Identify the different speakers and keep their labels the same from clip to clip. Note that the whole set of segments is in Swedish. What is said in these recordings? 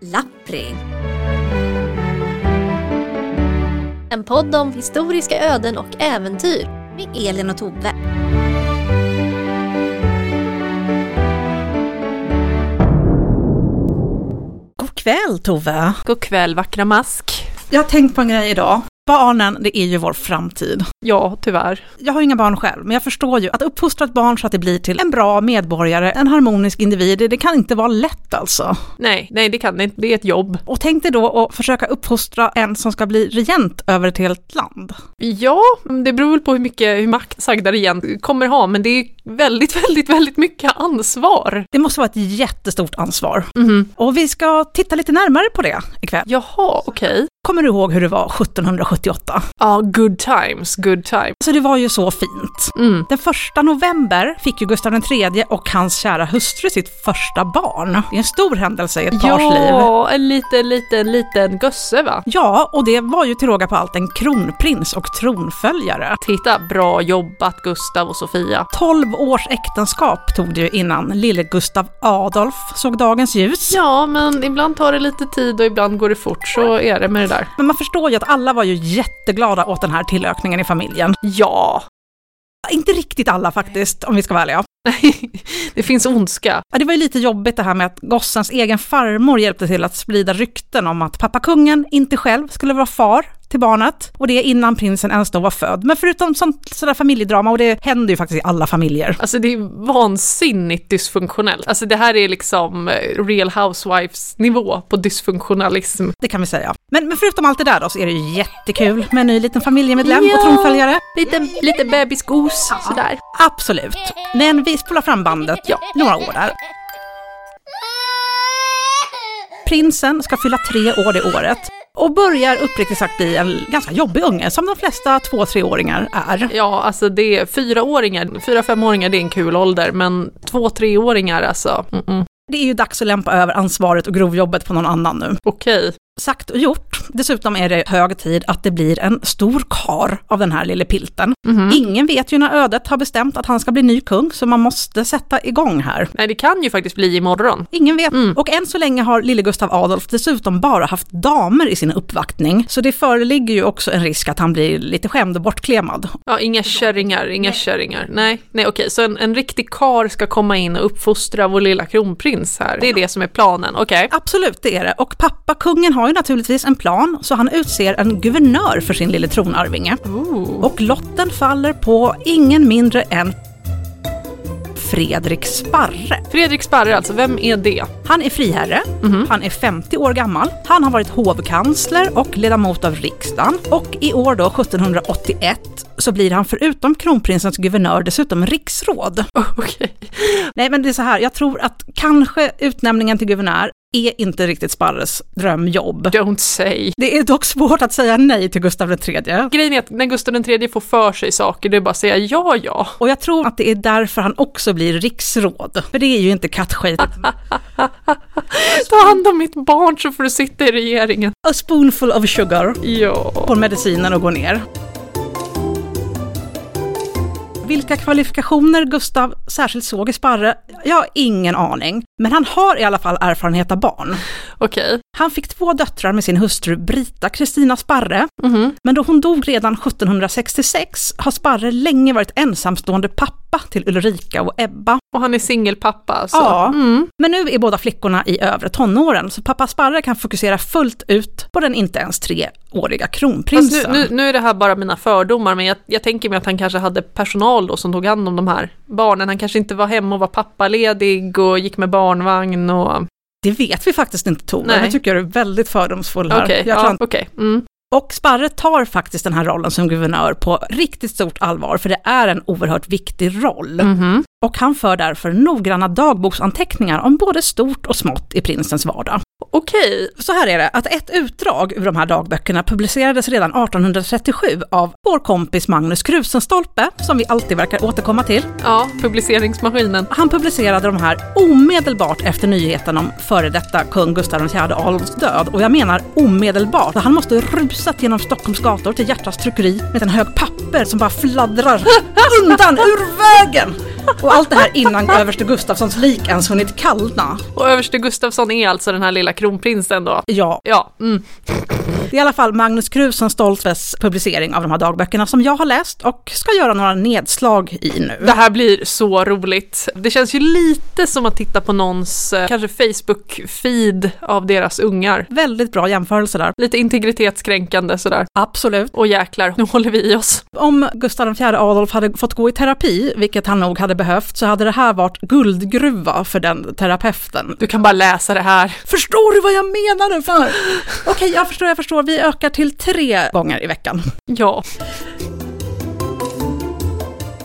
Speaker 1: Skildring. En podd om historiska öden och äventyr med Elin och Tove.
Speaker 2: God kväll Tove!
Speaker 3: God kväll vackra mask.
Speaker 2: Jag har tänkt på en grej idag. Barnen, det är ju vår framtid.
Speaker 3: Ja, tyvärr.
Speaker 2: Jag har inga barn själv, men jag förstår ju att uppfostra ett barn så att det blir till en bra medborgare, en harmonisk individ, det- det kan inte vara lätt alltså.
Speaker 3: Nej, nej det kan det inte. Det är ett jobb.
Speaker 2: Och tänk dig då att försöka uppfostra en som ska bli regent över ett helt land.
Speaker 3: Ja, det beror väl på hur mycket hur makt sagda regent kommer ha, men det är väldigt, väldigt, väldigt mycket ansvar. Mhm.
Speaker 2: Det måste vara ett jättestort ansvar. Och vi ska titta lite närmare på det ikväll.
Speaker 3: Jaha, okej.
Speaker 2: Kommer du ihåg hur det var 1778?
Speaker 3: Ja, good times, good times.
Speaker 2: Alltså det var ju så fint.
Speaker 3: Mm.
Speaker 2: Den första november fick ju Gustav III och hans kära hustru sitt första barn. Det är en stor händelse i ett pars liv.
Speaker 3: Ja, en liten, liten, liten gosse va?
Speaker 2: Ja, och det var ju till råga på allt en kronprins och tronföljare.
Speaker 3: Titta, bra jobbat Gustav och Sofia.
Speaker 2: 12 års äktenskap tog det ju innan lille Gustav Adolf såg dagens ljus.
Speaker 3: Ja, men ibland tar det lite tid och ibland går det fort, så är det med det där.
Speaker 2: Men man förstår ju att alla var ju jätteglada åt den här tillökningen i familjen.
Speaker 3: Ja,
Speaker 2: Inte riktigt alla faktiskt, om vi ska vara ärliga.
Speaker 3: det finns ondska.
Speaker 2: Ja, det var ju lite jobbigt det här med att gossens egen farmor hjälpte till att sprida rykten om att pappa kungen inte själv skulle vara far till barnet och det innan prinsen ens då var född. Men förutom sånt sådär familjedrama, och det händer ju faktiskt i alla familjer.
Speaker 3: Alltså det är vansinnigt dysfunktionellt. Alltså det här är liksom eh, real housewives nivå på dysfunktionalism.
Speaker 2: Det kan vi säga. Men, men förutom allt det där då så är det ju jättekul med en ny liten familjemedlem
Speaker 3: Ja.
Speaker 2: och tronföljare.
Speaker 3: Lite, lite bebisgos sådär.
Speaker 2: Absolut. Men vi spolar fram bandet ja, några år där. Prinsen ska fylla tre år det året och börjar uppriktigt sagt bli en ganska jobbig unge, som de flesta två treåringar är.
Speaker 3: Ja, alltså det är fyraåringar, fyra-femåringar det är en kul ålder, men två-treåringar alltså, mm-mm.
Speaker 2: Det är ju dags att lämpa över ansvaret och grovjobbet på någon annan nu.
Speaker 3: okej.
Speaker 2: Sagt och gjort. Dessutom är det hög tid att det blir en stor kar av den här lille pilten. Ingen vet ju när ödet har bestämt att han ska bli ny kung, så man måste sätta igång här.
Speaker 3: Nej, det kan ju faktiskt bli imorgon.
Speaker 2: Ingen vet. Och än så länge har lille Gustav Adolf dessutom bara haft damer i sin uppvaktning, så det föreligger ju också en risk att han blir lite skämd och bortklemad.
Speaker 3: Ja, inga kärringar, inga kärringar. Nej, nej okej, så en, en riktig kar ska komma in och uppfostra vår lilla kronprins här. Det är det som är planen, okej.
Speaker 2: Absolut, det är det. Och pappa kungen har ju naturligtvis en plan, så han utser en guvernör för sin lille tronarvinge. Och lotten faller på ingen mindre än Fredrik Sparre.
Speaker 3: Fredrik Sparre alltså, vem är det?
Speaker 2: Han är friherre, han är 50 år gammal, han har varit hovkansler och ledamot av riksdagen. Och i år då, 1781, så blir han förutom kronprinsens guvernör dessutom riksråd.
Speaker 3: Okej.
Speaker 2: Nej men det är så här, jag tror att kanske utnämningen till guvernör är inte riktigt Sparres drömjobb.
Speaker 3: Don't say.
Speaker 2: Det är dock svårt att säga nej till Gustav III.
Speaker 3: Grejen är att när Gustav III får för sig saker, det är bara att säga ja, ja.
Speaker 2: Och jag tror att det är därför han också blir riksråd. För det är ju inte kattskit.
Speaker 3: Ta hand om mitt barn så får du sitta i regeringen.
Speaker 2: A spoonful of sugar.
Speaker 3: Ja.
Speaker 2: På medicinen och går ner. Vilka kvalifikationer Gustav särskilt såg i Sparre? Jag har ingen aning. Men han har i alla fall erfarenhet av barn.
Speaker 3: Okej.
Speaker 2: Han fick två döttrar med sin hustru Brita Kristina Sparre, men då hon dog redan 1766 har Sparre länge varit ensamstående pappa till Ulrika och Ebba.
Speaker 3: Och han är singelpappa alltså?
Speaker 2: Ja, men nu är båda flickorna i övre tonåren, så pappa Sparre kan fokusera fullt ut på den inte ens treåriga
Speaker 3: Fast
Speaker 2: kronprinsen.
Speaker 3: nu, nu, nu är det här bara mina fördomar, men jag, jag tänker mig att han kanske hade personal då som tog hand om de här barnen. Han kanske inte var hemma och var pappaledig och gick med barnvagn och...
Speaker 2: Det vet vi faktiskt inte Tove,
Speaker 3: Nej.
Speaker 2: nu tycker jag du är väldigt fördomsfull här.
Speaker 3: Okej,
Speaker 2: Jag
Speaker 3: ja,
Speaker 2: kan-
Speaker 3: okej. Mm.
Speaker 2: Och Sparre tar faktiskt den här rollen som guvernör på riktigt stort allvar, för det är en oerhört viktig roll.
Speaker 3: Mhm.
Speaker 2: och han för därför noggranna dagboksanteckningar om både stort och smått i prinsens vardag.
Speaker 3: Okej,
Speaker 2: Så här är det, att ett utdrag ur de här dagböckerna publicerades redan 1837 av vår kompis Magnus Krusenstolpe, som vi alltid verkar återkomma till.
Speaker 3: ja, publiceringsmaskinen.
Speaker 2: Han publicerade de här omedelbart efter nyheten om före detta kung Gustav IV Adolfs död, och jag menar omedelbart. Han måste rusat genom Stockholms gator till Hjärtas tryckeri med en hög papper som bara fladdrar undan ur vägen! Och allt det här innan överste Gustafssons lik ens hunnit kallna.
Speaker 3: Och överste Gustafsson är alltså den här lilla kronprinsen då.
Speaker 2: Ja,
Speaker 3: Ja, mm.
Speaker 2: det är i alla fall Magnus Krusen Stoltves publicering av de här dagböckerna som jag har läst och ska göra några nedslag i nu.
Speaker 3: det här blir så roligt. Det känns ju lite som att titta på någons eh, kanske Facebook-feed av deras ungar.
Speaker 2: Väldigt bra jämförelse där.
Speaker 3: Lite integritetskränkande sådär.
Speaker 2: Absolut.
Speaker 3: Och jäklar, nu håller vi i oss.
Speaker 2: Om Gustav IV Adolf hade fått gå i terapi, vilket han nog hade behövt, så hade det här varit guldgruva för den terapeuten.
Speaker 3: Du kan bara läsa det här.
Speaker 2: Förstår du vad jag menade för? Okej, jag förstår, jag förstår. Vi ökar till tre gånger i veckan.
Speaker 3: Ja,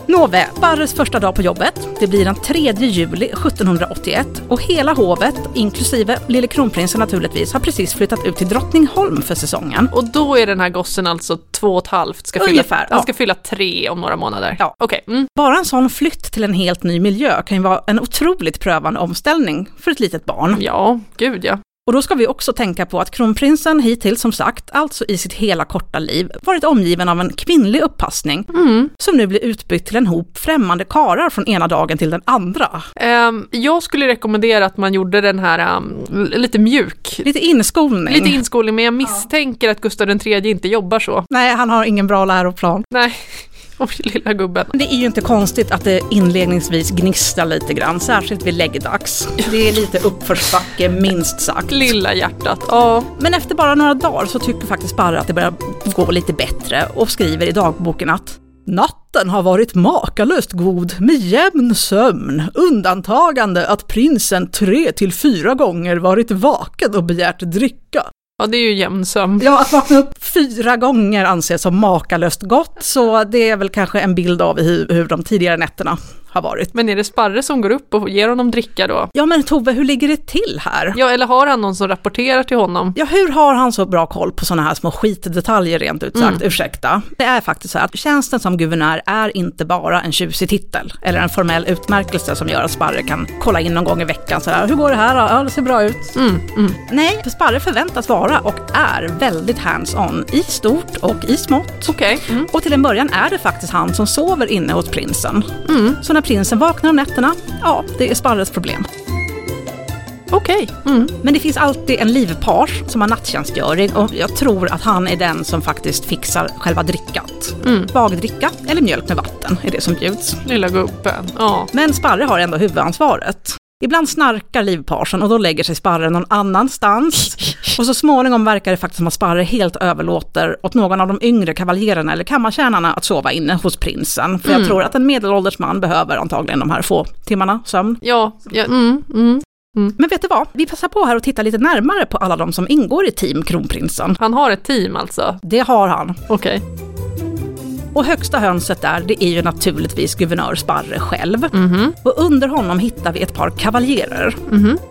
Speaker 2: Nåväl, Barres första dag på jobbet. Det blir den 3 juli 1781 och hela hovet, inklusive lille kronprinsen naturligtvis, har precis flyttat ut till Drottningholm för säsongen.
Speaker 3: och då är den här gossen alltså två och ett halvt, ska fylla,
Speaker 2: Ungefär,
Speaker 3: han
Speaker 2: ja.
Speaker 3: ska fylla tre om några månader.
Speaker 2: Ja.
Speaker 3: Okej, mm.
Speaker 2: Bara en sån flytt till en helt ny miljö kan ju vara en otroligt prövande omställning för ett litet barn.
Speaker 3: ja, gud ja.
Speaker 2: Och då ska vi också tänka på att kronprinsen hittills som sagt, alltså i sitt hela korta liv, varit omgiven av en kvinnlig upppassning som nu blir utbytt till en hop främmande karar från ena dagen till den andra.
Speaker 3: Ehm, jag skulle rekommendera att man gjorde den här ehm, l- lite mjuk.
Speaker 2: Lite inskolning.
Speaker 3: Lite inskolning, men jag misstänker att Gustav III inte jobbar så.
Speaker 2: Nej, han har ingen bra läroplan.
Speaker 3: Nej, oj lilla gubben.
Speaker 2: Det är ju inte konstigt att det inledningsvis gnistrar lite grann, särskilt vid läggdags. Det är lite uppförsbacke, minst sagt.
Speaker 3: Lilla hjärtat, ja.
Speaker 2: Men efter bara några dagar så tycker faktiskt Barre att det börjar gå lite bättre och skriver i dagboken att Natten har varit makalöst god med jämn sömn, undantagande att prinsen tre till fyra gånger varit vaken och begärt dricka.
Speaker 3: Ja, det är ju jämn sömn.
Speaker 2: Ja, att vakna upp fyra gånger anses som makalöst gott, så det är väl kanske en bild av hur, hur de tidigare nätterna har varit.
Speaker 3: Men är det Sparre som går upp och ger honom dricka då?
Speaker 2: Ja, men Tove, hur ligger det till här?
Speaker 3: Ja, eller har han någon som rapporterar till honom?
Speaker 2: Ja, hur har han så bra koll på sådana här små skitdetaljer rent ut sagt? Ursäkta. Det är faktiskt så här att tjänsten som guvernör är inte bara en tjusig titel eller en formell utmärkelse som gör att Sparre kan kolla in någon gång i veckan så här, hur går det här då? Ja, det ser bra ut.
Speaker 3: Mm,
Speaker 2: Nej, för Sparre förväntas vara och är väldigt hands-on i stort och i smått.
Speaker 3: Okej. Mm.
Speaker 2: Och till en början är det faktiskt han som sover inne hos prinsen. Så när prinsen vaknar om nätterna, ja, det är Sparres problem.
Speaker 3: Okej. Mm.
Speaker 2: Men det finns alltid en livpage som har nattjänstgöring och jag tror att han är den som faktiskt fixar själva drickat. Bagdricka eller mjölk med vatten är det som bjuds.
Speaker 3: Lilla gubben, ja.
Speaker 2: Men Sparre har ändå huvudansvaret. Ibland snarkar livparsen och då lägger sig Sparre någon annanstans. Och så småningom verkar det faktiskt som att Sparre helt överlåter åt någon av de yngre kavaljererna eller kammartjänarna att sova inne hos prinsen. För jag tror att en medelålders man behöver antagligen de här få timmarna sömn.
Speaker 3: Ja, ja mm, mm.
Speaker 2: Men vet du vad? Vi passar på här och tittar lite närmare på alla de som ingår i team kronprinsen.
Speaker 3: han har ett team alltså.
Speaker 2: Det har han.
Speaker 3: Okej.
Speaker 2: Och högsta hönset där, det är ju naturligtvis guvernör Sparre själv. Och under honom hittar vi ett par kavaljerer.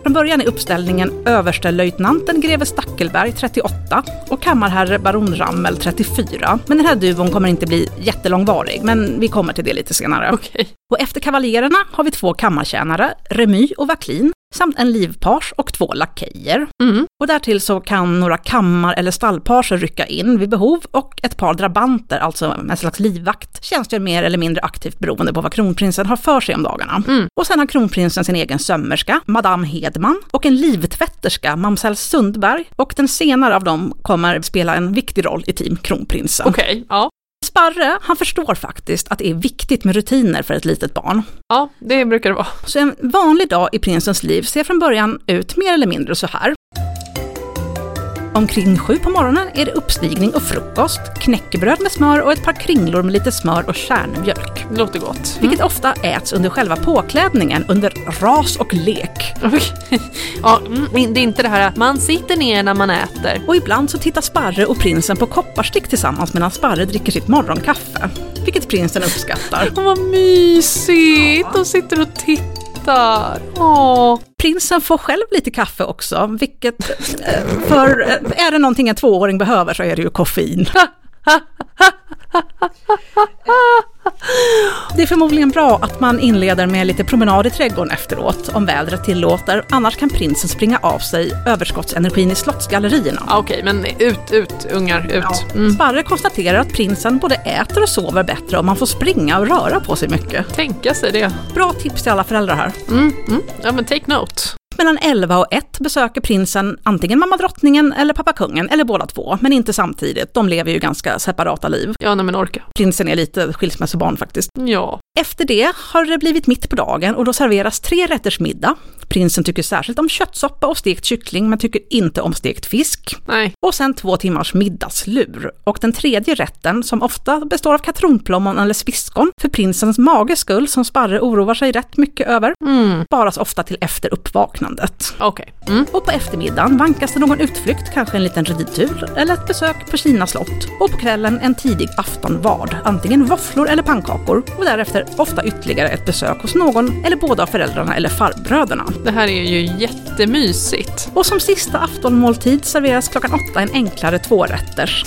Speaker 2: Från början är uppställningen överstelöjtnanten greve Stackelberg 38 och kammarherre baron Rammel 34. Men den här duon kommer inte bli jättelångvarig, men vi kommer till det lite senare.
Speaker 3: Okej.
Speaker 2: Och efter kavaljererna har vi två kammartjänare, Remy och Vacklin, samt en livpage och två lakejer.
Speaker 3: Mm.
Speaker 2: Och därtill så kan några kammar eller stallpager rycka in vid behov och ett par drabanter, alltså en slags livvakt, tjänstgör mer eller mindre aktivt beroende på vad kronprinsen har för sig om dagarna. Och sen har kronprinsen sin egen sömmerska, madame Hedman, och en livtvätterska, mamsell Sundberg, och den senare av dem kommer spela en viktig roll i team kronprinsen.
Speaker 3: Okej, ja.
Speaker 2: Sparre, han förstår faktiskt att det är viktigt med rutiner för ett litet barn.
Speaker 3: Ja, det brukar det vara.
Speaker 2: Så en vanlig dag i prinsens liv ser från början ut mer eller mindre så här. Omkring sju på morgonen är det uppstigning och frukost, knäckebröd med smör och ett par kringlor med lite smör och kärnmjölk.
Speaker 3: Det låter gott.
Speaker 2: Vilket ofta äts under själva påklädningen under ras och lek.
Speaker 3: Okej. Ja, mm, det är inte det här man sitter ner när man äter.
Speaker 2: Och ibland så tittar Sparre och prinsen på kopparstick tillsammans medan Sparre dricker sitt morgonkaffe. Vilket prinsen uppskattar.
Speaker 3: Åh, vad mysigt! De sitter och tittar. Åh.
Speaker 2: Prinsen får själv lite kaffe också, vilket... eh, För eh, är det någonting en tvååring behöver så är det ju koffein. Det är förmodligen bra att man inleder med lite promenad i trädgården efteråt, om vädret tillåter. Annars kan prinsen springa av sig överskottsenergin i slottsgallerierna.
Speaker 3: Ja, Okej, men ut, ut ungar, ut. Mm.
Speaker 2: Sparre konstaterar att prinsen både äter och sover bättre om man får springa och röra på sig mycket.
Speaker 3: Tänka sig det.
Speaker 2: Bra tips till alla föräldrar här.
Speaker 3: Mm, mm. Ja, men take note.
Speaker 2: Mellan 11 och 1 besöker prinsen antingen mamma drottningen eller pappa kungen, eller båda två, men inte samtidigt. De lever ju ganska separata liv.
Speaker 3: Ja, nej men orka.
Speaker 2: Prinsen är lite skilsmässobarn faktiskt.
Speaker 3: Ja.
Speaker 2: Efter det har det blivit mitt på dagen och då serveras tre rätters middag. Prinsen tycker särskilt om köttsoppa och stekt kyckling men tycker inte om stekt fisk.
Speaker 3: Nej.
Speaker 2: Och sen två timmars middagslur. Och den tredje rätten, som ofta består av katronplommon eller sviskon, för prinsens mages skull, som Sparre oroar sig rätt mycket över, sparas ofta till efter uppvaknandet.
Speaker 3: Okej. Mm.
Speaker 2: Och på eftermiddagen vankas det någon utflykt, kanske en liten ridtur eller ett besök på Kina slott. Och på kvällen en tidig aftonvard, antingen våfflor eller pannkakor. Och därefter ofta ytterligare ett besök hos någon eller båda av föräldrarna eller farbröderna.
Speaker 3: Det här är ju jättemysigt.
Speaker 2: Och som sista aftonmåltid serveras klockan åtta en enklare tvårätter.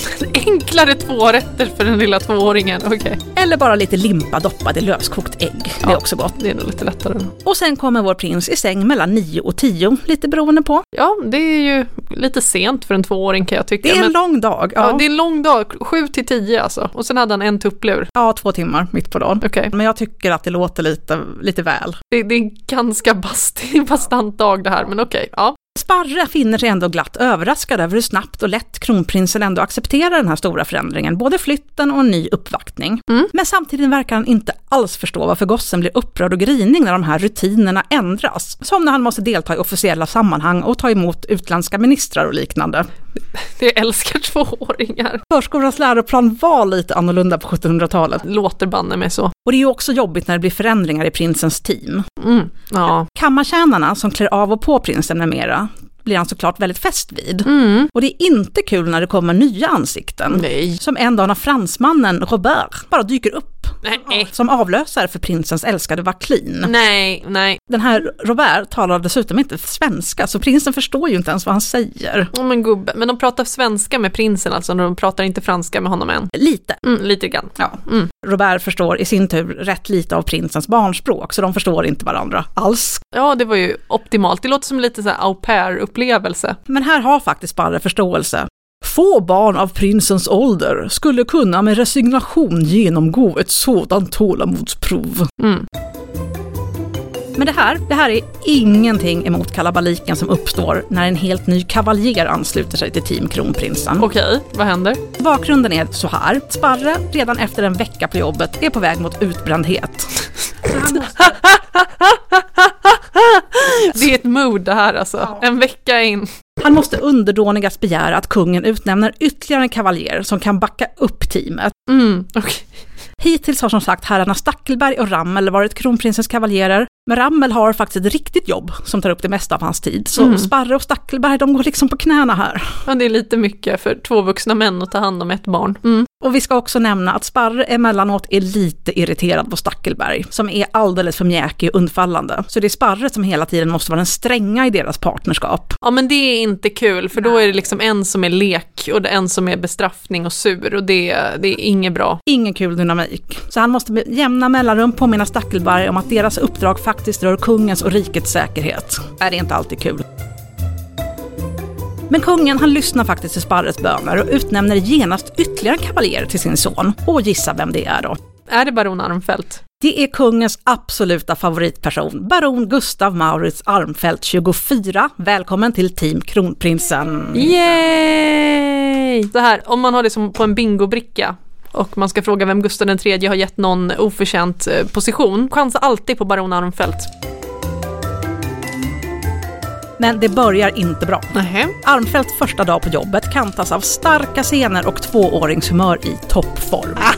Speaker 3: Enklare tvårätter för den lilla tvååringen. Okej.
Speaker 2: Eller bara lite limpa doppad i löskokt ägg. Det är
Speaker 3: Ja.
Speaker 2: också gott.
Speaker 3: Det är nog lite lättare.
Speaker 2: Och sen kommer vår prins i säng mellan 9 och 10, lite beroende på.
Speaker 3: Ja, det är ju lite sent för en tvååring kan jag tycka.
Speaker 2: Det är en
Speaker 3: men-
Speaker 2: lång dag.
Speaker 3: ja.
Speaker 2: Ja,
Speaker 3: det är en lång dag. Sju till tio alltså. Och sen hade han en tupplur.
Speaker 2: ja två timmar mitt på dagen.
Speaker 3: Okej.
Speaker 2: Men jag tycker att det låter lite, lite väl.
Speaker 3: Det, det är en ganska bast, bastant dag det här, men okej. Ja.
Speaker 2: Sparre finner sig ändå glatt överraskad över hur snabbt och lätt kronprinsen ändå accepterar den här stora förändringen, både flytten och en ny uppvaktning. Men samtidigt verkar han inte alls förstå varför gossen blir upprörd och grinig när de här rutinerna ändras. Som när han måste delta i officiella sammanhang och ta emot utländska ministrar och liknande.
Speaker 3: Det älskar tvååringar.
Speaker 2: Förskolans läroplan var lite annorlunda på 1700-talet.
Speaker 3: Låter banne mig så.
Speaker 2: Och det är ju också jobbigt när det blir förändringar i prinsens team.
Speaker 3: Mm. Ja.
Speaker 2: Kammartjänarna som klär av och på prinsen med mera blir han såklart väldigt fäst vid.
Speaker 3: Mm.
Speaker 2: Och det är inte kul när det kommer nya ansikten.
Speaker 3: Nej.
Speaker 2: Som en dag när fransmannen Robert bara dyker upp
Speaker 3: Nej. Mm.
Speaker 2: som avlösare för prinsens älskade Vacklin.
Speaker 3: Nej, nej.
Speaker 2: Den här Robert talar dessutom inte svenska, så prinsen förstår ju inte ens vad han säger.
Speaker 3: Oh, men gubbe. Men de pratar svenska med prinsen alltså, de pratar inte franska med honom än.
Speaker 2: Lite.
Speaker 3: Mm, lite grann.
Speaker 2: Ja.
Speaker 3: Mm.
Speaker 2: Robert förstår i sin tur rätt lite av prinsens barnspråk, så de förstår inte varandra alls.
Speaker 3: Ja, det var ju optimalt. Det låter som lite så här au pair-upplevelse.
Speaker 2: Men här har faktiskt Sparre förståelse. Få barn av prinsens ålder skulle kunna med resignation genomgå ett sådant tålamodsprov.
Speaker 3: Mm.
Speaker 2: Men det här, det här är ingenting emot kalabaliken som uppstår när en helt ny kavaljer ansluter sig till Team Kronprinsen. Och
Speaker 3: Okej, vad händer?
Speaker 2: bakgrunden är så här. Sparre, redan efter en vecka på jobbet, är på väg mot utbrändhet. Så han måste-
Speaker 3: Det är ett mood det här alltså. En vecka in.
Speaker 2: Han måste underdånigast begära att kungen utnämner ytterligare en kavaljer som kan backa upp teamet.
Speaker 3: Mm, okej.
Speaker 2: Hittills har som sagt herrarna Stackelberg och Rammel varit kronprinsens kavaljerer, men Rammel har faktiskt ett riktigt jobb som tar upp det mesta av hans tid. Så Sparre och Stackelberg, de går liksom på knäna här.
Speaker 3: Ja, det är lite mycket för två vuxna män att ta hand om ett barn. Mm.
Speaker 2: Och vi ska också nämna att Sparre emellanåt är lite irriterad på Stackelberg, som är alldeles för mjäkig och undfallande. Så det är Sparre som hela tiden måste vara den stränga i deras partnerskap.
Speaker 3: Ja, men det är inte kul, för då är det liksom en som är lek och det är en som är bestraffning och sur och det, det är inget bra.
Speaker 2: Ingen kul dynamik. Så han måste med jämna mellanrum påminna Stackelberg om att deras uppdrag faktiskt rör kungens och rikets säkerhet. Är det inte alltid kul? Men kungen han lyssnar faktiskt till Sparres böner och utnämner genast ytterligare en kavaljer till sin son. Och gissa vem det är då?
Speaker 3: Är det baron Armfelt?
Speaker 2: Det är kungens absoluta favoritperson, baron Gustav Maurits Armfelt 24. Välkommen till Team Kronprinsen.
Speaker 3: Yay! Så här, om man har det som på en bingobricka och man ska fråga vem Gustav III har gett någon oförtjänt eh, position, chansa alltid på baron Armfelt.
Speaker 2: Men det börjar inte bra.
Speaker 3: Nähä.
Speaker 2: Armfelts första dag på jobbet kantas av starka scener och tvååringshumör i toppform. Ah,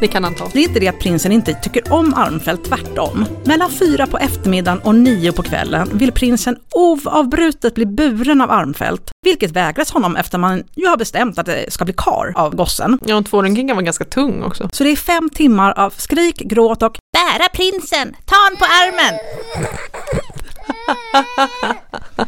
Speaker 3: Det kan han ta.
Speaker 2: Det är inte det att prinsen inte tycker om Armfelt, tvärtom. Mellan fyra på eftermiddagen och nio på kvällen vill prinsen oavbrutet bli buren av Armfelt, vilket vägras honom efter man ju har bestämt att det ska bli kar av gossen.
Speaker 3: Ja, en tvååring kan vara ganska tung också.
Speaker 2: Så det är fem timmar av skrik, gråt och
Speaker 4: Bära prinsen, ta han på armen.
Speaker 2: inte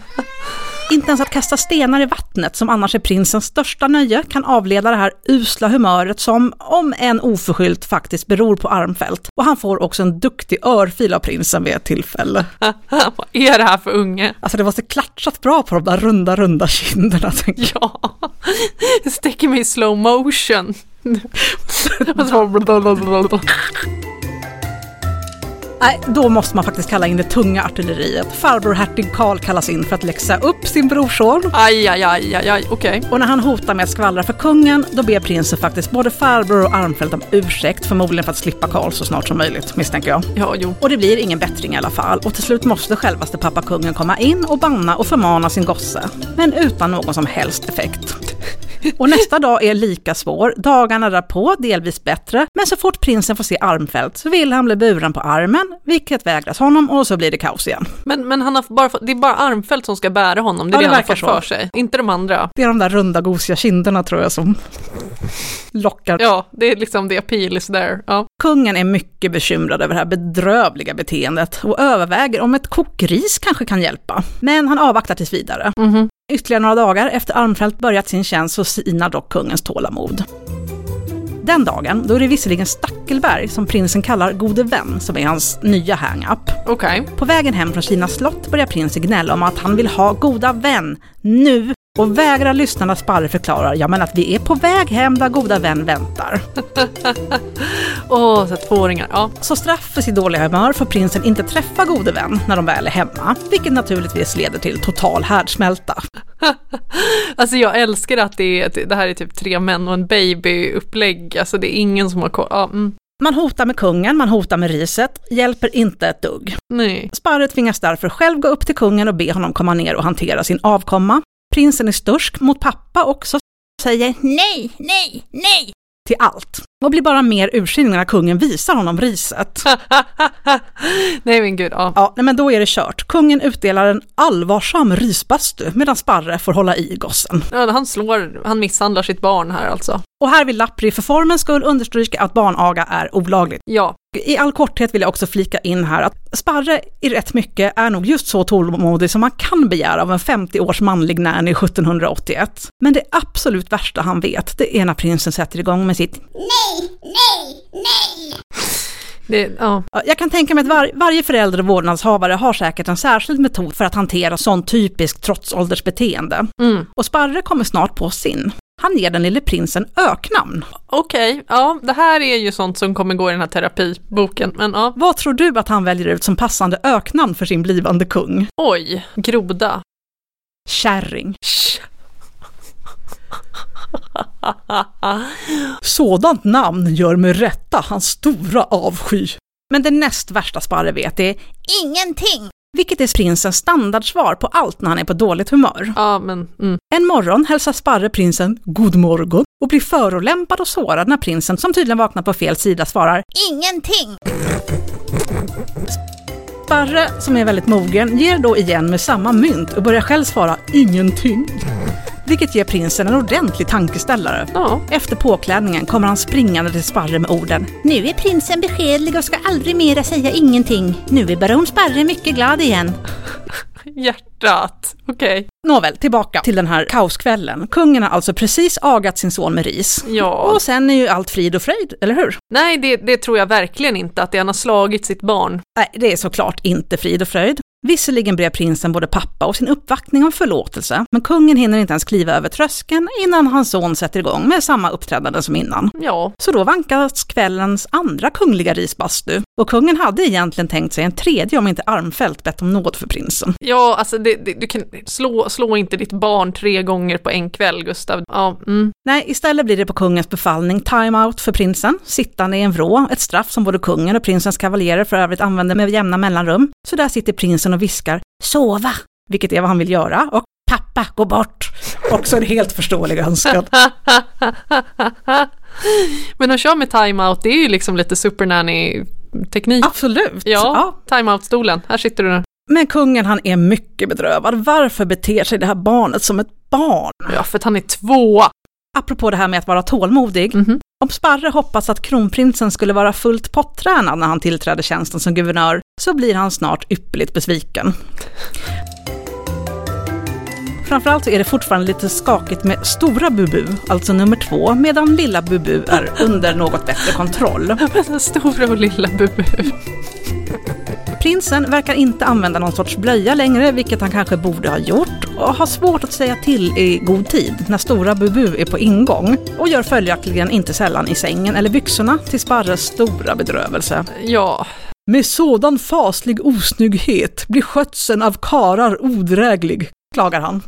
Speaker 2: Inte ens att kasta stenar i vattnet, som annars är prinsens största nöje, kan avleda det här usla humöret som, om än oförskyllt, faktiskt beror på Armfelt. Och han får också en duktig örfil av prinsen vid ett tillfälle.
Speaker 3: Vad är det här för unge?
Speaker 2: Alltså det var så klatschat bra på de där runda, runda kinderna. tänker
Speaker 3: Ja, det sticker mig i slow motion. Och så bara-
Speaker 2: jag. Nej, då måste man faktiskt kalla in det tunga artilleriet. Farbror hertig Karl kallas in för att läxa upp sin brorson.
Speaker 3: Aj, aj, aj, aj, aj. okej.
Speaker 2: Och när han hotar med att skvallra för kungen, då ber prinsen faktiskt både farbror och Armfelt om ursäkt, förmodligen för att slippa Karl så snart som möjligt, misstänker jag.
Speaker 3: Ja, jo.
Speaker 2: Och det blir ingen bättring i alla fall och till slut måste självaste pappa kungen komma in och banna och förmana sin gosse. Men utan någon som helst effekt. Och nästa dag är lika svår, dagarna därpå delvis bättre, men så fort prinsen får se Armfelt så vill han bli buren på armen, vilket vägras honom och så blir det kaos igen.
Speaker 3: Men, men han har bara fått, det är bara Armfelt som ska bära honom, det
Speaker 2: Ja,
Speaker 3: är det,
Speaker 2: det
Speaker 3: han har
Speaker 2: verkar
Speaker 3: fått
Speaker 2: så.
Speaker 3: för sig. Inte de andra.
Speaker 2: Det är de där runda gosiga kinderna tror jag som lockar.
Speaker 3: Ja, det är liksom the appeal is there. Ja.
Speaker 2: Kungen är mycket bekymrad över det här bedrövliga beteendet och överväger om ett kokris kanske kan hjälpa. Men han avvaktar tills vidare. Ytterligare några dagar efter Armfelt börjat sin tjänst så sinar dock kungens tålamod. Den dagen, då är det visserligen Stackelberg, som prinsen kallar gode vän, som är hans nya hang-up.
Speaker 3: Okej.
Speaker 2: På vägen hem från Kinas slott börjar prinsen gnälla om att han vill ha goda vän, nu! Och vägrar lyssna när Sparre förklarar, ja men att vi är på väg hem där goda vän väntar.
Speaker 3: Åh, så att tvååringar. Ja.
Speaker 2: Så straff för sitt dåliga humör får prinsen inte träffa gode vän när de väl är hemma, vilket naturligtvis leder till total härdsmälta.
Speaker 3: Alltså jag älskar att det, är, att det här är typ tre män och en baby-upplägg. Alltså det är ingen som har koll. Ja, mm,
Speaker 2: Man hotar med kungen, man hotar med riset, hjälper inte ett dugg.
Speaker 3: nej.
Speaker 2: Sparre tvingas därför själv gå upp till kungen och be honom komma ner och hantera sin avkomma. Prinsen är stursk mot pappa också, säger nej, nej, nej till allt. Och blir bara mer ursinnig när kungen visar honom riset.
Speaker 3: nej men gud, ja.
Speaker 2: Ja, nej men då är det kört. Kungen utdelar en allvarsam risbastu medan Sparre får hålla i gossen.
Speaker 3: ja. Han slår, han misshandlar sitt barn här alltså.
Speaker 2: Och här vill Lappri för formens skull understryka att barnaga är olagligt.
Speaker 3: Ja,
Speaker 2: I all korthet vill jag också flika in här att Sparre i rätt mycket är nog just så tålmodig som man kan begära av en 50-års manlig nanny 1781. Men det absolut värsta han vet, det är när prinsen sätter igång med sitt
Speaker 3: det, ja.
Speaker 2: Ja, Jag kan tänka mig att var, varje förälder och vårdnadshavare har säkert en särskild metod för att hantera sån typisk trotsåldersbeteende.
Speaker 3: Mm.
Speaker 2: Och Sparre kommer snart på sin. Han ger den lille prinsen öknamn.
Speaker 3: Okej, ja, det här är ju sånt som kommer gå i den här terapiboken, men ja.
Speaker 2: Vad tror du att han väljer ut som passande öknamn för sin blivande kung?
Speaker 3: Oj, groda.
Speaker 2: Kärring.
Speaker 3: Sch.
Speaker 2: Sådant namn gör med rätta hans stora avsky. Men det näst värsta Sparre vet är ingenting, vilket är prinsens standardsvar på allt när han är på dåligt humör.
Speaker 3: Ja, men mm.
Speaker 2: En morgon hälsar Sparre prinsen god morgon och blir förolämpad och sårad när prinsen, som tydligen vaknar på fel sida, svarar ingenting. Sparre, som är väldigt mogen, ger då igen med samma mynt och börjar själv svara ingenting. Vilket ger prinsen en ordentlig tankeställare.
Speaker 3: Ja.
Speaker 2: Efter påklädningen kommer han springande till Sparre med orden
Speaker 1: Nu är prinsen beskedlig och ska aldrig mera säga ingenting. Nu är baron Sparre mycket glad igen.
Speaker 3: Hjärtat. Okej.
Speaker 2: Nåväl, tillbaka till den här kaoskvällen. Kungen har alltså precis agat sin son med ris.
Speaker 3: Ja.
Speaker 2: Och sen är ju allt frid och fröjd, eller hur?
Speaker 3: Nej, det, det tror jag verkligen inte, att det han har slagit sitt barn.
Speaker 2: Nej, det är såklart inte frid och fröjd. Visserligen blev prinsen både pappa och sin uppvaktning om förlåtelse, men kungen hinner inte ens kliva över tröskeln innan hans son sätter igång med samma uppträdande som innan.
Speaker 3: Ja,
Speaker 2: Så då vankas kvällens andra kungliga risbastu, och kungen hade egentligen tänkt sig en tredje om inte Armfelt bett om nåd för prinsen.
Speaker 3: ja alltså det, det, du kan slå, slå inte ditt barn tre gånger på en kväll, Gustav. Ja, mm.
Speaker 2: Nej, istället blir det på kungens befallning time-out för prinsen, sittande i en vrå, ett straff som både kungen och prinsens kavaljerer för övrigt använder med jämna mellanrum. Så där sitter prinsen och viskar ”sova”, vilket är vad han vill göra, och ”pappa, gå bort”. Också en helt förståelig önskan.
Speaker 3: Men att köra med timeout, det är ju liksom lite supernanny-teknik.
Speaker 2: Absolut!
Speaker 3: ja, timeout-stolen. Här sitter du.
Speaker 2: Men kungen han är mycket bedrövad. Varför beter sig det här barnet som ett barn?
Speaker 3: Ja, för att han är två.
Speaker 2: Apropå det här med att vara tålmodig.
Speaker 3: Mhm.
Speaker 2: Om Sparre hoppas att kronprinsen skulle vara fullt pottränad när han tillträdde tjänsten som guvernör, så blir han snart ypperligt besviken. Framförallt så är det fortfarande lite skakigt med stora Bubu, alltså nummer två, medan lilla Bubu är under något bättre kontroll.
Speaker 3: Den stora och lilla Bubu.
Speaker 2: Prinsen verkar inte använda någon sorts blöja längre, vilket han kanske borde ha gjort och har svårt att säga till i god tid när stora Bubu är på ingång och gör följaktligen inte sällan i sängen eller byxorna till Sparres stora bedrövelse.
Speaker 3: Ja,
Speaker 2: Med sådan faslig osnygghet blir skötseln av karar odräglig, klagar han.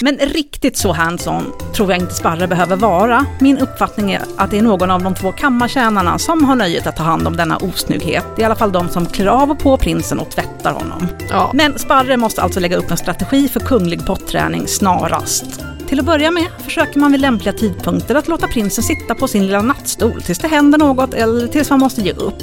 Speaker 2: Men riktigt så hands-on tror jag inte Sparre behöver vara. Min uppfattning är att det är någon av de två kammartjänarna som har nöjet att ta hand om denna osnygghet. Det är i alla fall de som klär av och på prinsen och tvättar honom.
Speaker 3: ja.
Speaker 2: Men Sparre måste alltså lägga upp en strategi för kunglig potträning snarast. Till att börja med försöker man vid lämpliga tidpunkter att låta prinsen sitta på sin lilla nattstol tills det händer något eller tills man måste ge upp.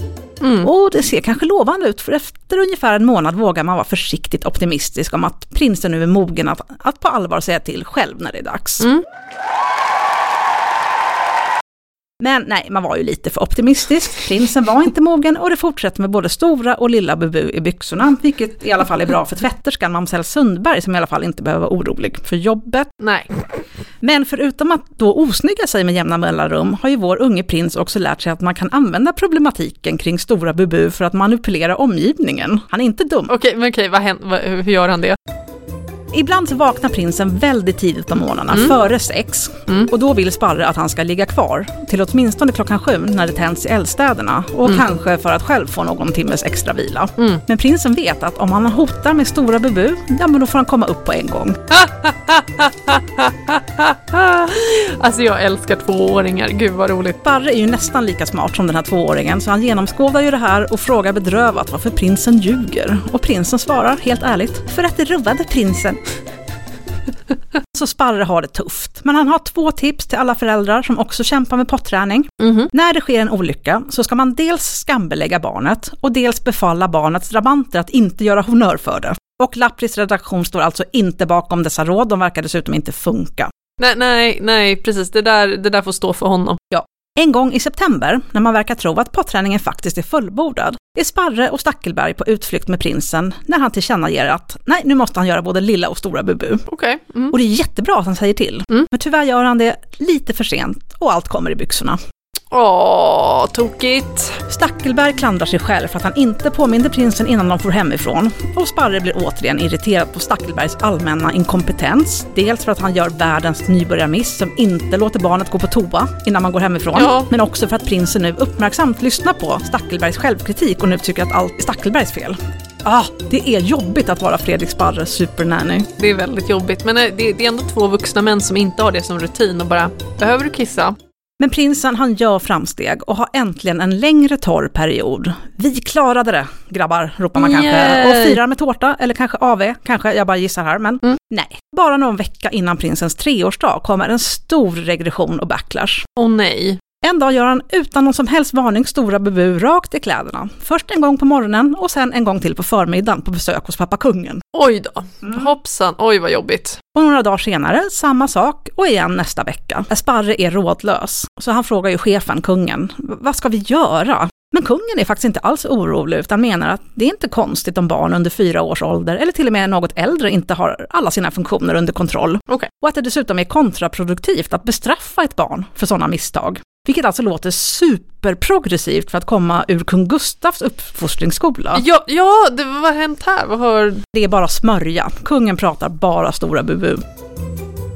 Speaker 2: Och det ser kanske lovande ut för efter ungefär en månad vågar man vara försiktigt optimistisk om att prinsen nu är mogen att, att på allvar säga till själv när det är dags.
Speaker 3: Mm.
Speaker 2: Men nej, man var ju lite för optimistisk. Prinsen var inte mogen och det fortsätter med både stora och lilla Bubu i byxorna, vilket i alla fall är bra för tvätterskan Mamsell Sundberg som i alla fall inte behöver vara orolig för jobbet.
Speaker 3: Nej.
Speaker 2: Men förutom att då osnygga sig med jämna mellanrum har ju vår unge prins också lärt sig att man kan använda problematiken kring stora Bubu för att manipulera omgivningen. Han är inte dum.
Speaker 3: Okej, men okej, vad händer, vad, hur gör han det?
Speaker 2: Ibland så vaknar prinsen väldigt tidigt om morgnarna, före sex. Och då vill Sparre att han ska ligga kvar till åtminstone klockan sju när det tänds i eldstäderna. Och kanske för att själv få någon timmes extra vila. Men prinsen vet att om han hotar med stora Bubu, ja men då får han komma upp på en gång.
Speaker 3: Alltså jag älskar tvååringar, gud vad roligt.
Speaker 2: Barre är ju nästan lika smart som den här tvååringen så han genomskådar ju det här och frågar bedrövat varför prinsen ljuger. Och prinsen svarar helt ärligt, för att det rubbade prinsen. Så Sparre har det tufft, men han har två tips till alla föräldrar som också kämpar med potträning.
Speaker 3: Mhm.
Speaker 2: När det sker en olycka så ska man dels skambelägga barnet och dels befalla barnets drabanter att inte göra honnör för det. Och Lappris redaktion står alltså inte bakom dessa råd, de verkar dessutom inte funka.
Speaker 3: Nej, nej, nej, precis, det där, det där får stå för honom.
Speaker 2: En gång i september, när man verkar tro att potträningen faktiskt är fullbordad, är Sparre och Stackelberg på utflykt med prinsen när han tillkännager att nej, nu måste han göra både lilla och stora Bubu.
Speaker 3: Okej. Mm.
Speaker 2: Och det är jättebra att han säger till,
Speaker 3: Mm.
Speaker 2: men tyvärr gör han det lite för sent och allt kommer i byxorna.
Speaker 3: Åh, tokigt.
Speaker 2: Stackelberg klandrar sig själv för att han inte påminde prinsen innan de for hemifrån och Sparre blir återigen irriterad på Stackelbergs allmänna inkompetens. Dels för att han gör världens nybörjarmiss som inte låter barnet gå på toa innan man går hemifrån,
Speaker 3: Ja.
Speaker 2: men också för att prinsen nu uppmärksamt lyssnar på Stackelbergs självkritik och nu tycker att allt är Stackelbergs fel. Ah, det är jobbigt att vara Fredrik Sparres supernanny.
Speaker 3: Det är väldigt jobbigt, men eh, det, det är ändå två vuxna män som inte har det som rutin och bara, behöver du kissa?
Speaker 2: Men prinsen han gör framsteg och har äntligen en längre torr period. Vi klarade det, grabbar, ropar man kanske.
Speaker 3: Yay!
Speaker 2: Och firar med tårta, eller kanske AV, kanske, jag bara gissar här, men nej. Bara någon vecka innan prinsens treårsdag kommer en stor regression och backlash.
Speaker 3: Åh nej.
Speaker 2: En dag gör han utan någon som helst varning stora Bubu rakt i kläderna. Först en gång på morgonen och sen en gång till på förmiddagen på besök hos pappa kungen.
Speaker 3: Oj då. Hoppsan, oj vad jobbigt.
Speaker 2: Och några dagar senare, samma sak och igen nästa vecka. Sparre är rådlös, så han frågar ju chefen, kungen, "V- vad ska vi göra? Men kungen är faktiskt inte alls orolig utan menar att det är inte konstigt om barn under fyra års ålder eller till och med något äldre inte har alla sina funktioner under kontroll.
Speaker 3: Okej.
Speaker 2: Och att det dessutom är kontraproduktivt att bestraffa ett barn för sådana misstag. Vilket alltså låter superprogressivt för att komma ur kung Gustavs uppfostringsskola.
Speaker 3: Ja, ja det, vad har hänt här? Vad har...
Speaker 2: Det är bara smörja. Kungen pratar bara stora bubu.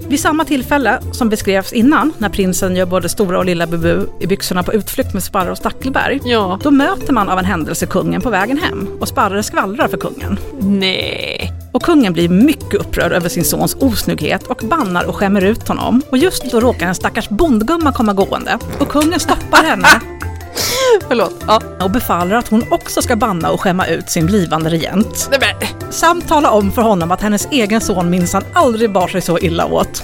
Speaker 2: Vid samma tillfälle som beskrevs innan, när prinsen gör både stora och lilla bubu i byxorna på utflykt med Sparre och Stackelberg,
Speaker 3: Ja.
Speaker 2: då möter man av en händelse kungen på vägen hem och Sparre skvallrar för kungen.
Speaker 3: Nej.
Speaker 2: Och kungen blir mycket upprörd över sin sons osnygghet och bannar och skämmer ut honom. Och just då råkar en stackars bondgumma komma gående och kungen stoppar henne
Speaker 3: Förlåt. Ja.
Speaker 2: och befaller att hon också ska banna och skämma ut sin blivande regent.
Speaker 3: Nej, men.
Speaker 2: samt tala om för honom att hennes egen son minsann aldrig bar sig så illa åt.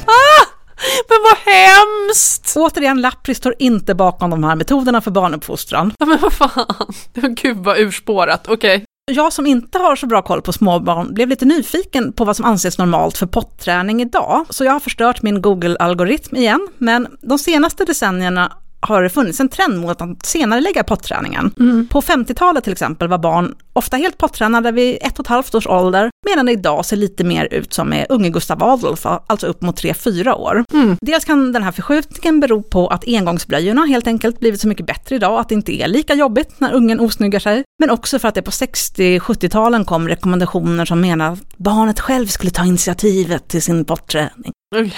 Speaker 3: men vad hemskt!
Speaker 2: Återigen, Lappri står inte bakom de här metoderna för barnuppfostran.
Speaker 3: Ja, men vad fan. Gud vad urspårat. Okej.
Speaker 2: Jag som inte har så bra koll på småbarn blev lite nyfiken på vad som anses normalt för potträning idag, så jag har förstört min Google-algoritm igen, men de senaste decennierna har det funnits en trend mot att senare lägga potträningen. På 50-talet till exempel var barn ofta helt pottränade vid ett och ett halvt års ålder, medan det idag ser lite mer ut som med unge Gustav Adolf, alltså upp mot 3-4 år.
Speaker 3: Hmm.
Speaker 2: Dels kan den här förskjutningen bero på att engångsblöjorna helt enkelt blivit så mycket bättre idag att det inte är lika jobbigt när ungen osnyggar sig, men också för att det på 60-70-talen kom rekommendationer som menar att barnet själv skulle ta initiativet till sin potträning.
Speaker 3: Okej.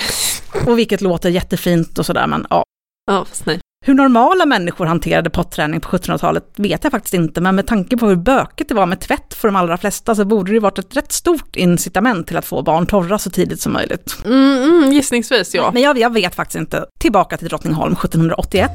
Speaker 2: Och vilket låter jättefint och sådär, men ja,
Speaker 3: Ja, fast nej.
Speaker 2: hur normala människor hanterade potträning på 1700-talet vet jag faktiskt inte, men med tanke på hur bökigt det var med tvätt för de allra flesta så borde det ju varit ett rätt stort incitament till att få barn torra så tidigt som möjligt.
Speaker 3: Mm, mm, gissningsvis ja.
Speaker 2: Men jag, jag vet faktiskt inte. Tillbaka till Drottningholm 1781.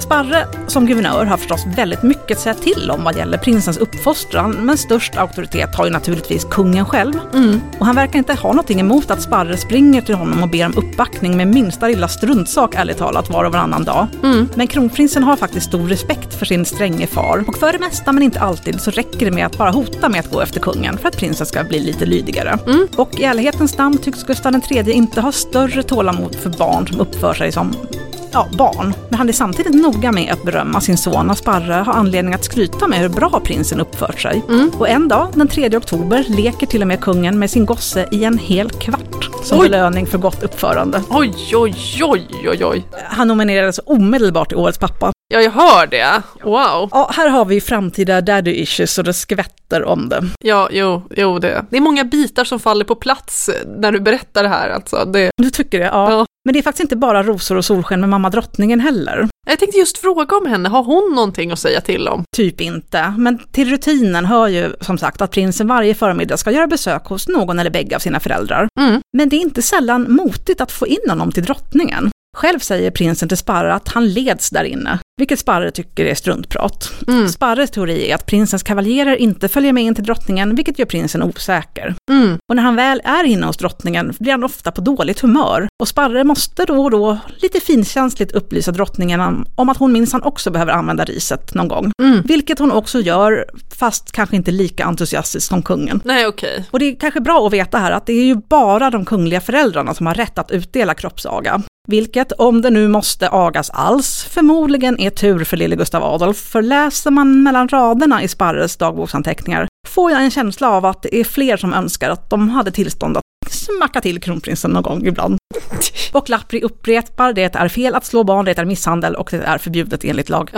Speaker 2: Sparre som guvernör har förstås väldigt mycket att säga till om vad gäller prinsens uppfostran, men störst auktoritet har ju naturligtvis kungen själv.
Speaker 3: Mm.
Speaker 2: Och han verkar inte ha någonting emot att Sparre springer till honom och ber om uppbackning med minsta lilla struntsak ärligt talat var och varannan dag. Men kronprinsen har faktiskt stor respekt för sin stränge far och för det mesta men inte alltid så räcker det med att bara hota med att gå efter kungen för att prinsen ska bli lite lydigare. Och i ärlighetens namn tycks Gustav III inte ha större tålamod för barn som uppför sig som Ja, barn. Men han är samtidigt noga med att berömma sin son och Sparre har anledning att skryta med hur bra prinsen uppfört sig. Och en dag, den 3 oktober, leker till och med kungen med sin gosse i en hel kvart som
Speaker 3: Oj!
Speaker 2: belöning för gott uppförande.
Speaker 3: Oj, oj, oj, oj, oj.
Speaker 2: Han nominerades omedelbart till Årets pappa
Speaker 3: Ja, jag hör det. Wow.
Speaker 2: Ja, här har vi framtida daddy issues och det skvätter om det.
Speaker 3: Ja, jo, jo det. Det är många bitar som faller på plats eh, när du berättar det här alltså. Det,
Speaker 2: Du tycker det? Ja.
Speaker 3: Ja.
Speaker 2: Men det är faktiskt inte bara rosor och solsken med mamma drottningen heller.
Speaker 3: jag tänkte just fråga om henne, har hon någonting att säga till om?
Speaker 2: Typ inte. Men till rutinen hör ju som sagt att prinsen varje förmiddag ska göra besök hos någon eller bägge av sina föräldrar.
Speaker 3: Mm.
Speaker 2: Men det är inte sällan motigt att få in honom till drottningen. Själv säger prinsen till Sparre att han leds där inne, vilket Sparre tycker är struntprat.
Speaker 3: Mm.
Speaker 2: Sparres teori är att prinsens kavaljerer inte följer med in till drottningen, vilket gör prinsen osäker.
Speaker 3: Mm.
Speaker 2: Och när han väl är inne hos drottningen blir han ofta på dåligt humör och Sparre måste då och då lite finkänsligt upplysa drottningen om- om att hon minsann också behöver använda riset någon gång.
Speaker 3: Mm.
Speaker 2: Vilket hon också gör, fast kanske inte lika entusiastiskt som kungen.
Speaker 3: Nej, okej.
Speaker 2: Och det är kanske bra att veta här att det är ju bara de kungliga föräldrarna som har rätt att utdela kroppsaga. Vilket, om det nu måste agas alls, förmodligen är tur för lille Gustav Adolf. För läser man mellan raderna i Sparres dagboksanteckningar får jag en känsla av att det är fler som önskar att de hade tillstånd att smacka till kronprinsen någon gång ibland. Och Lappri upprepar, det är fel att slå barn, det är misshandel och det är förbjudet enligt lag.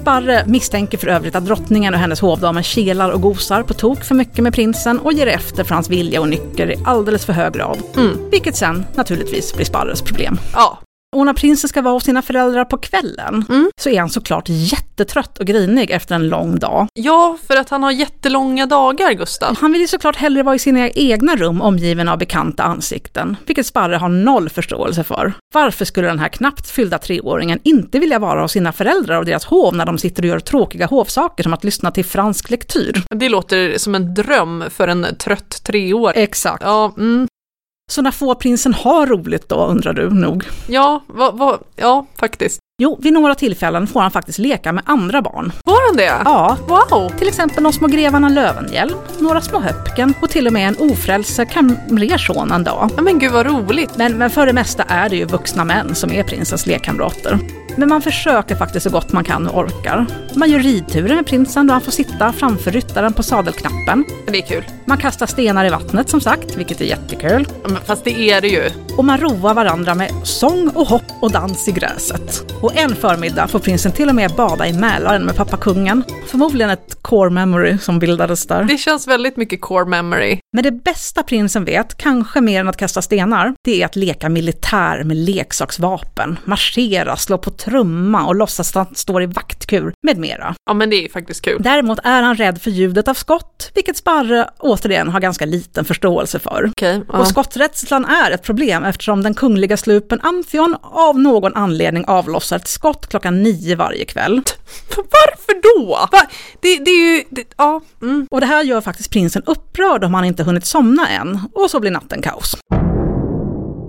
Speaker 2: Sparre misstänker för övrigt att drottningen och hennes hovdamer kelar och gosar på tok för mycket med prinsen och ger efter för hans vilja och nycker i alldeles för hög grad.
Speaker 3: Mm.
Speaker 2: Vilket sen naturligtvis blir Sparres problem.
Speaker 3: Ja.
Speaker 2: Och när prinsen ska vara hos sina föräldrar på kvällen
Speaker 3: Mm.
Speaker 2: så är han såklart jättetrött och grinig efter en lång dag.
Speaker 3: ja, för att han har jättelånga dagar, Gustav.
Speaker 2: Han vill ju såklart hellre vara i sina egna rum omgiven av bekanta ansikten, vilket Sparre har noll förståelse för. Varför skulle den här knappt fyllda treåringen inte vilja vara hos sina föräldrar och deras hov när de sitter och gör tråkiga hovsaker som att lyssna till fransk lektyr?
Speaker 3: Det låter som en dröm för en trött treåring.
Speaker 2: Exakt.
Speaker 3: Ja, mm.
Speaker 2: Så när får prinsen ha roligt då, undrar du nog?
Speaker 3: ja, va, va, ja, faktiskt.
Speaker 2: Jo, vid några tillfällen får han faktiskt leka med andra barn.
Speaker 3: Var han det?
Speaker 2: Ja,
Speaker 3: Wow!
Speaker 2: till exempel de små grevarna Lövenhjelm, några små Höpken och till och med en ofrälse kamrersson en dag.
Speaker 3: Ja, men gud vad roligt.
Speaker 2: Men, men för det mesta är det ju vuxna män som är prinsens lekkamrater. Men man försöker faktiskt så gott man kan och orkar. Man gör ridturer med prinsen då han får sitta framför ryttaren på sadelknappen.
Speaker 3: Det är kul.
Speaker 2: Man kastar stenar i vattnet som sagt, vilket är jättekul.
Speaker 3: Ja, men Fast det är det ju.
Speaker 2: och man roar varandra med sång och hopp och dans i gräset. Och en förmiddag får prinsen till och med bada i Mälaren med pappa kungen. Förmodligen ett core memory som bildades där.
Speaker 3: Det känns väldigt mycket core memory.
Speaker 2: Men det bästa prinsen vet, kanske mer än att kasta stenar, det är att leka militär med leksaksvapen, marschera, slå på trumma och låtsas att han står i vaktkur med mera.
Speaker 3: Ja, men det är faktiskt kul.
Speaker 2: Däremot är han rädd för ljudet av skott, vilket Sparre återigen har ganska liten förståelse för.
Speaker 3: Okej.
Speaker 2: Och
Speaker 3: ja.
Speaker 2: skotträdslan är ett problem eftersom den kungliga slupen Amphion av någon anledning avlossar ett skott klockan nio varje kväll.
Speaker 3: Varför då? Va? Det, det är ju... Det, ja. Mm.
Speaker 2: Och det här gör faktiskt prinsen upprörd om han inte hunnit somna än, och så blir natten kaos.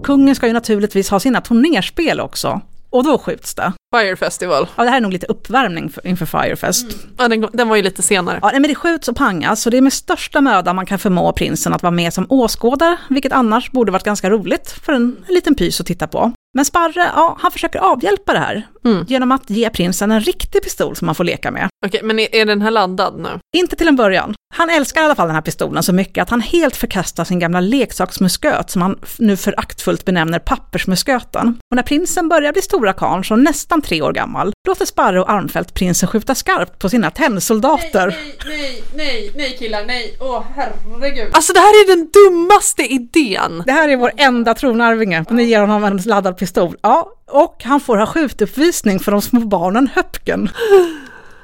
Speaker 2: Kungen ska ju naturligtvis ha sina turnerspel också, och då skjuts det.
Speaker 3: Fire Festival.
Speaker 2: Ja, det här är nog lite uppvärmning för, inför Firefest.
Speaker 3: Ja, den, den var ju lite senare.
Speaker 2: Ja, nej, men det skjuts och pangas, så det är med största möda man kan förmå prinsen att vara med som åskådare, vilket annars borde varit ganska roligt för en, en liten pys att titta på. Men Sparre, ja, han försöker avhjälpa det här
Speaker 3: Mm.
Speaker 2: genom att ge prinsen en riktig pistol som han får leka med.
Speaker 3: Okej, men är, är den här laddad nu?
Speaker 2: Inte till en början. Han älskar i alla fall den här pistolen så mycket att han helt förkastar sin gamla leksaksmusköt som han f- nu föraktfullt benämner pappersmusköten. Och när prinsen börjar bli stora karln, som nästan tre år gammal, låter Sparre och Armfelt prinsen skjuta skarpt på sina tennsoldater.
Speaker 4: Nej, nej, nej killar, nej. Åh herregud.
Speaker 3: Alltså det här är den dummaste idén!
Speaker 2: Det här är vår enda tronarvinge och ni ger honom en laddad pistol. Ja, och han får ha skjutuppvisning för de små barnen Höpken.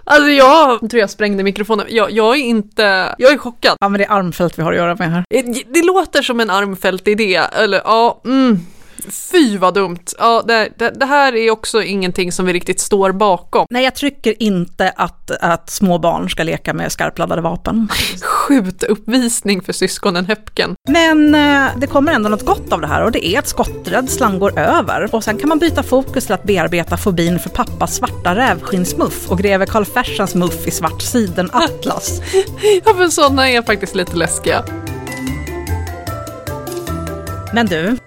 Speaker 3: Alltså jag tror jag sprängde mikrofonen. Jag, jag är inte, jag är chockad.
Speaker 2: Ja, men det är Armfelt vi har att göra med här.
Speaker 3: Det- Eh, Det låter som en Armfelt-idé, eller ja, mm. Fy vad dumt. Ja, det, det, det här är också ingenting som vi riktigt står bakom.
Speaker 2: Nej, jag tycker inte att, att små barn ska leka med skarpladdade vapen.
Speaker 3: Skjutuppvisning för syskonen Höpken.
Speaker 2: Men eh, det kommer ändå något gott av det här och det är att skotträdslan går över. Och sen kan man byta fokus till att bearbeta fobin för pappas svarta rävskinnsmuff och greve Karl Fersens muff i svart sidenatlas.
Speaker 3: Ja, men sådana är faktiskt lite läskiga.
Speaker 2: Men du,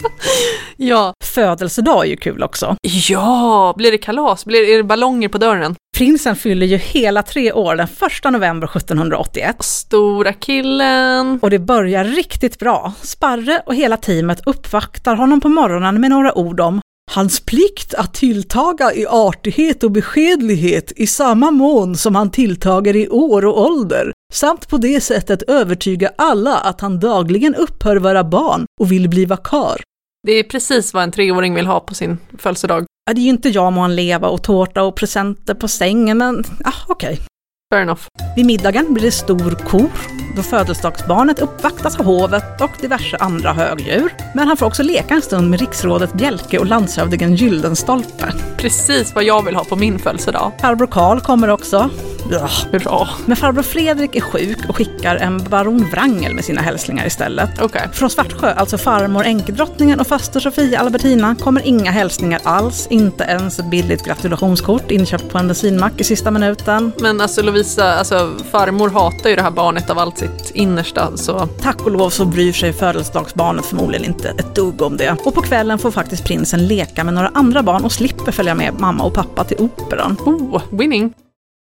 Speaker 3: Ja.
Speaker 2: födelsedag är ju kul också.
Speaker 3: Ja, blir det kalas? Blir, är det ballonger på dörren?
Speaker 2: Prinsen fyller ju hela tre år den 1 november 1781.
Speaker 3: Stora killen.
Speaker 2: Och det börjar riktigt bra. Sparre och hela teamet uppvaktar honom på morgonen med några ord om hans plikt att tilltaga i artighet och beskedlighet i samma mån som han tilltager i år och ålder, samt på det sättet övertyga alla att han dagligen upphör vara barn och vill bliva kar.
Speaker 3: Det är precis vad en treåring vill ha på sin födelsedag.
Speaker 2: Ja, det är ju inte jag må han leva och tårta och presenter på sängen, men ah, okej.
Speaker 3: Fair enough.
Speaker 2: Vid middagen blir det stor kor då födelsedagsbarnet uppvaktas av hovet och diverse andra högdjur. Men han får också leka en stund med riksrådet Bjelke och landshövdingen Gyldenstolpe.
Speaker 3: Precis vad jag vill ha på min födelsedag.
Speaker 2: Farbror Karl kommer också. Ja.
Speaker 3: Bra.
Speaker 2: Men farbror Fredrik är sjuk och skickar en baron Wrangel med sina hälsningar istället.
Speaker 3: Okej.
Speaker 2: Från Svartsjö, alltså farmor änkedrottningen och faster Sofia Albertina, kommer inga hälsningar alls. Inte ens ett billigt gratulationskort inköpt på en bensinmack i sista minuten.
Speaker 3: Men alltså Lovisa, alltså, farmor hatar ju det här barnet av allt sitt innersta så
Speaker 2: Tack och lov så bryr sig födelsedagsbarnet förmodligen inte ett dugg om det. Och på kvällen får faktiskt prinsen leka med några andra barn och slipper följa med mamma och pappa till operan.
Speaker 3: oh, winning.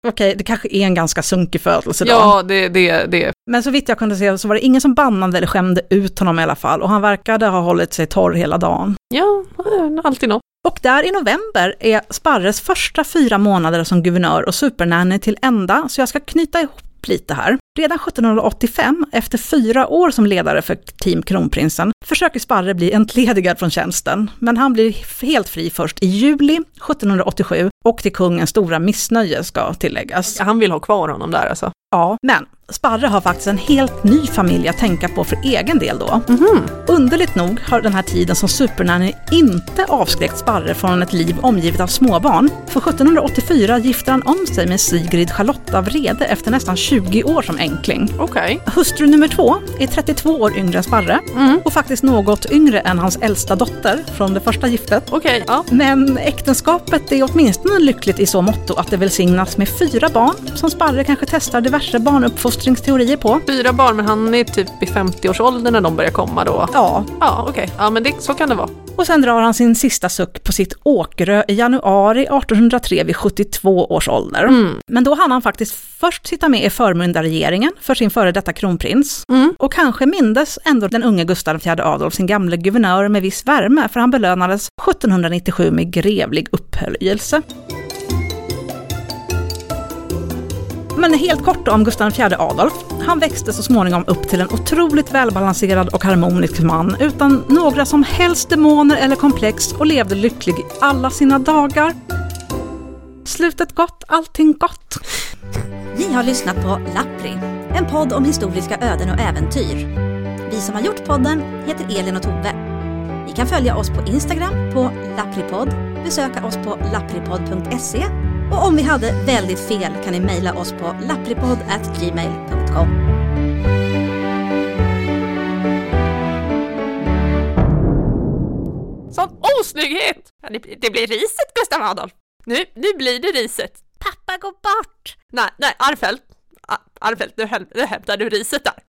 Speaker 2: Okej, det kanske är en ganska sunkig födelsedag.
Speaker 3: Ja, det, det, det.
Speaker 2: Men så vitt jag kunde se så var det ingen som bannade eller skämde ut honom i alla fall och han verkade ha hållit sig torr hela dagen.
Speaker 3: Ja, eh, alltid något.
Speaker 2: Och där i november är Sparres första fyra månader som guvernör och supernanny till ända, så jag ska knyta ihop lite här. Redan 1785, efter fyra år som ledare för Team Kronprinsen, försöker Sparre bli entledigad från tjänsten, men han blir f- helt fri först i juli 1787 och till kungens stora missnöje ska tilläggas.
Speaker 3: Han vill ha kvar honom där alltså.
Speaker 2: Ja, men Sparre har faktiskt en helt ny familj att tänka på för egen del då.
Speaker 3: Mhm,
Speaker 2: Underligt nog har den här tiden som supernanny inte avskräckt Sparre från ett liv omgivet av småbarn. För 1784 gifter han om sig med Sigrid Charlotta Vrede efter nästan 20 år som enkling.
Speaker 3: Okej.
Speaker 2: Hustru nummer två är 32 år yngre än Sparre och faktiskt något yngre än hans äldsta dotter från det första giftet.
Speaker 3: Okej, ja.
Speaker 2: Men äktenskapet är åtminstone lyckligt i så måtto att det välsignas med fyra barn som Sparre kanske testar diverse barnuppfostringsteorier på.
Speaker 3: Fyra barn, men han är typ i 50-årsåldern när de börjar komma då.
Speaker 2: Ja,
Speaker 3: Ja, okej. Ja, men det, så kan det vara.
Speaker 2: och sen drar han sin sista suck på sitt Åkerö i januari 1803 vid 72 års ålder.
Speaker 3: Mm.
Speaker 2: Men då hann han faktiskt först sitta med i förmyndarregeringen för sin före detta kronprins. Och kanske mindes ändå den unge Gustav IV Adolf sin gamle guvernör med viss värme, för han belönades 1797 med grevlig upphöjelse. Men helt kort om Gustav IV Adolf. Han växte så småningom upp till en otroligt välbalanserad och harmonisk man utan några som helst demoner eller komplex och levde lycklig i alla sina dagar. Slutet gott, allting gott.
Speaker 1: Ni har lyssnat på Lappri, en podd om historiska öden och äventyr. Vi som har gjort podden heter Elin och Tove. Ni kan följa oss på Instagram på lappripodd, besöka oss på lappripodd.se och om vi hade väldigt fel kan ni mejla oss på lappripodd.gmail.com.
Speaker 3: Sån osnygghet! Ja, det, det blir riset, Gustav Adolf. Nu, nu blir det riset. Pappa går bort. Nej, nej, Armfelt. Ar- Armfelt, nu, häm- nu hämtar du riset där.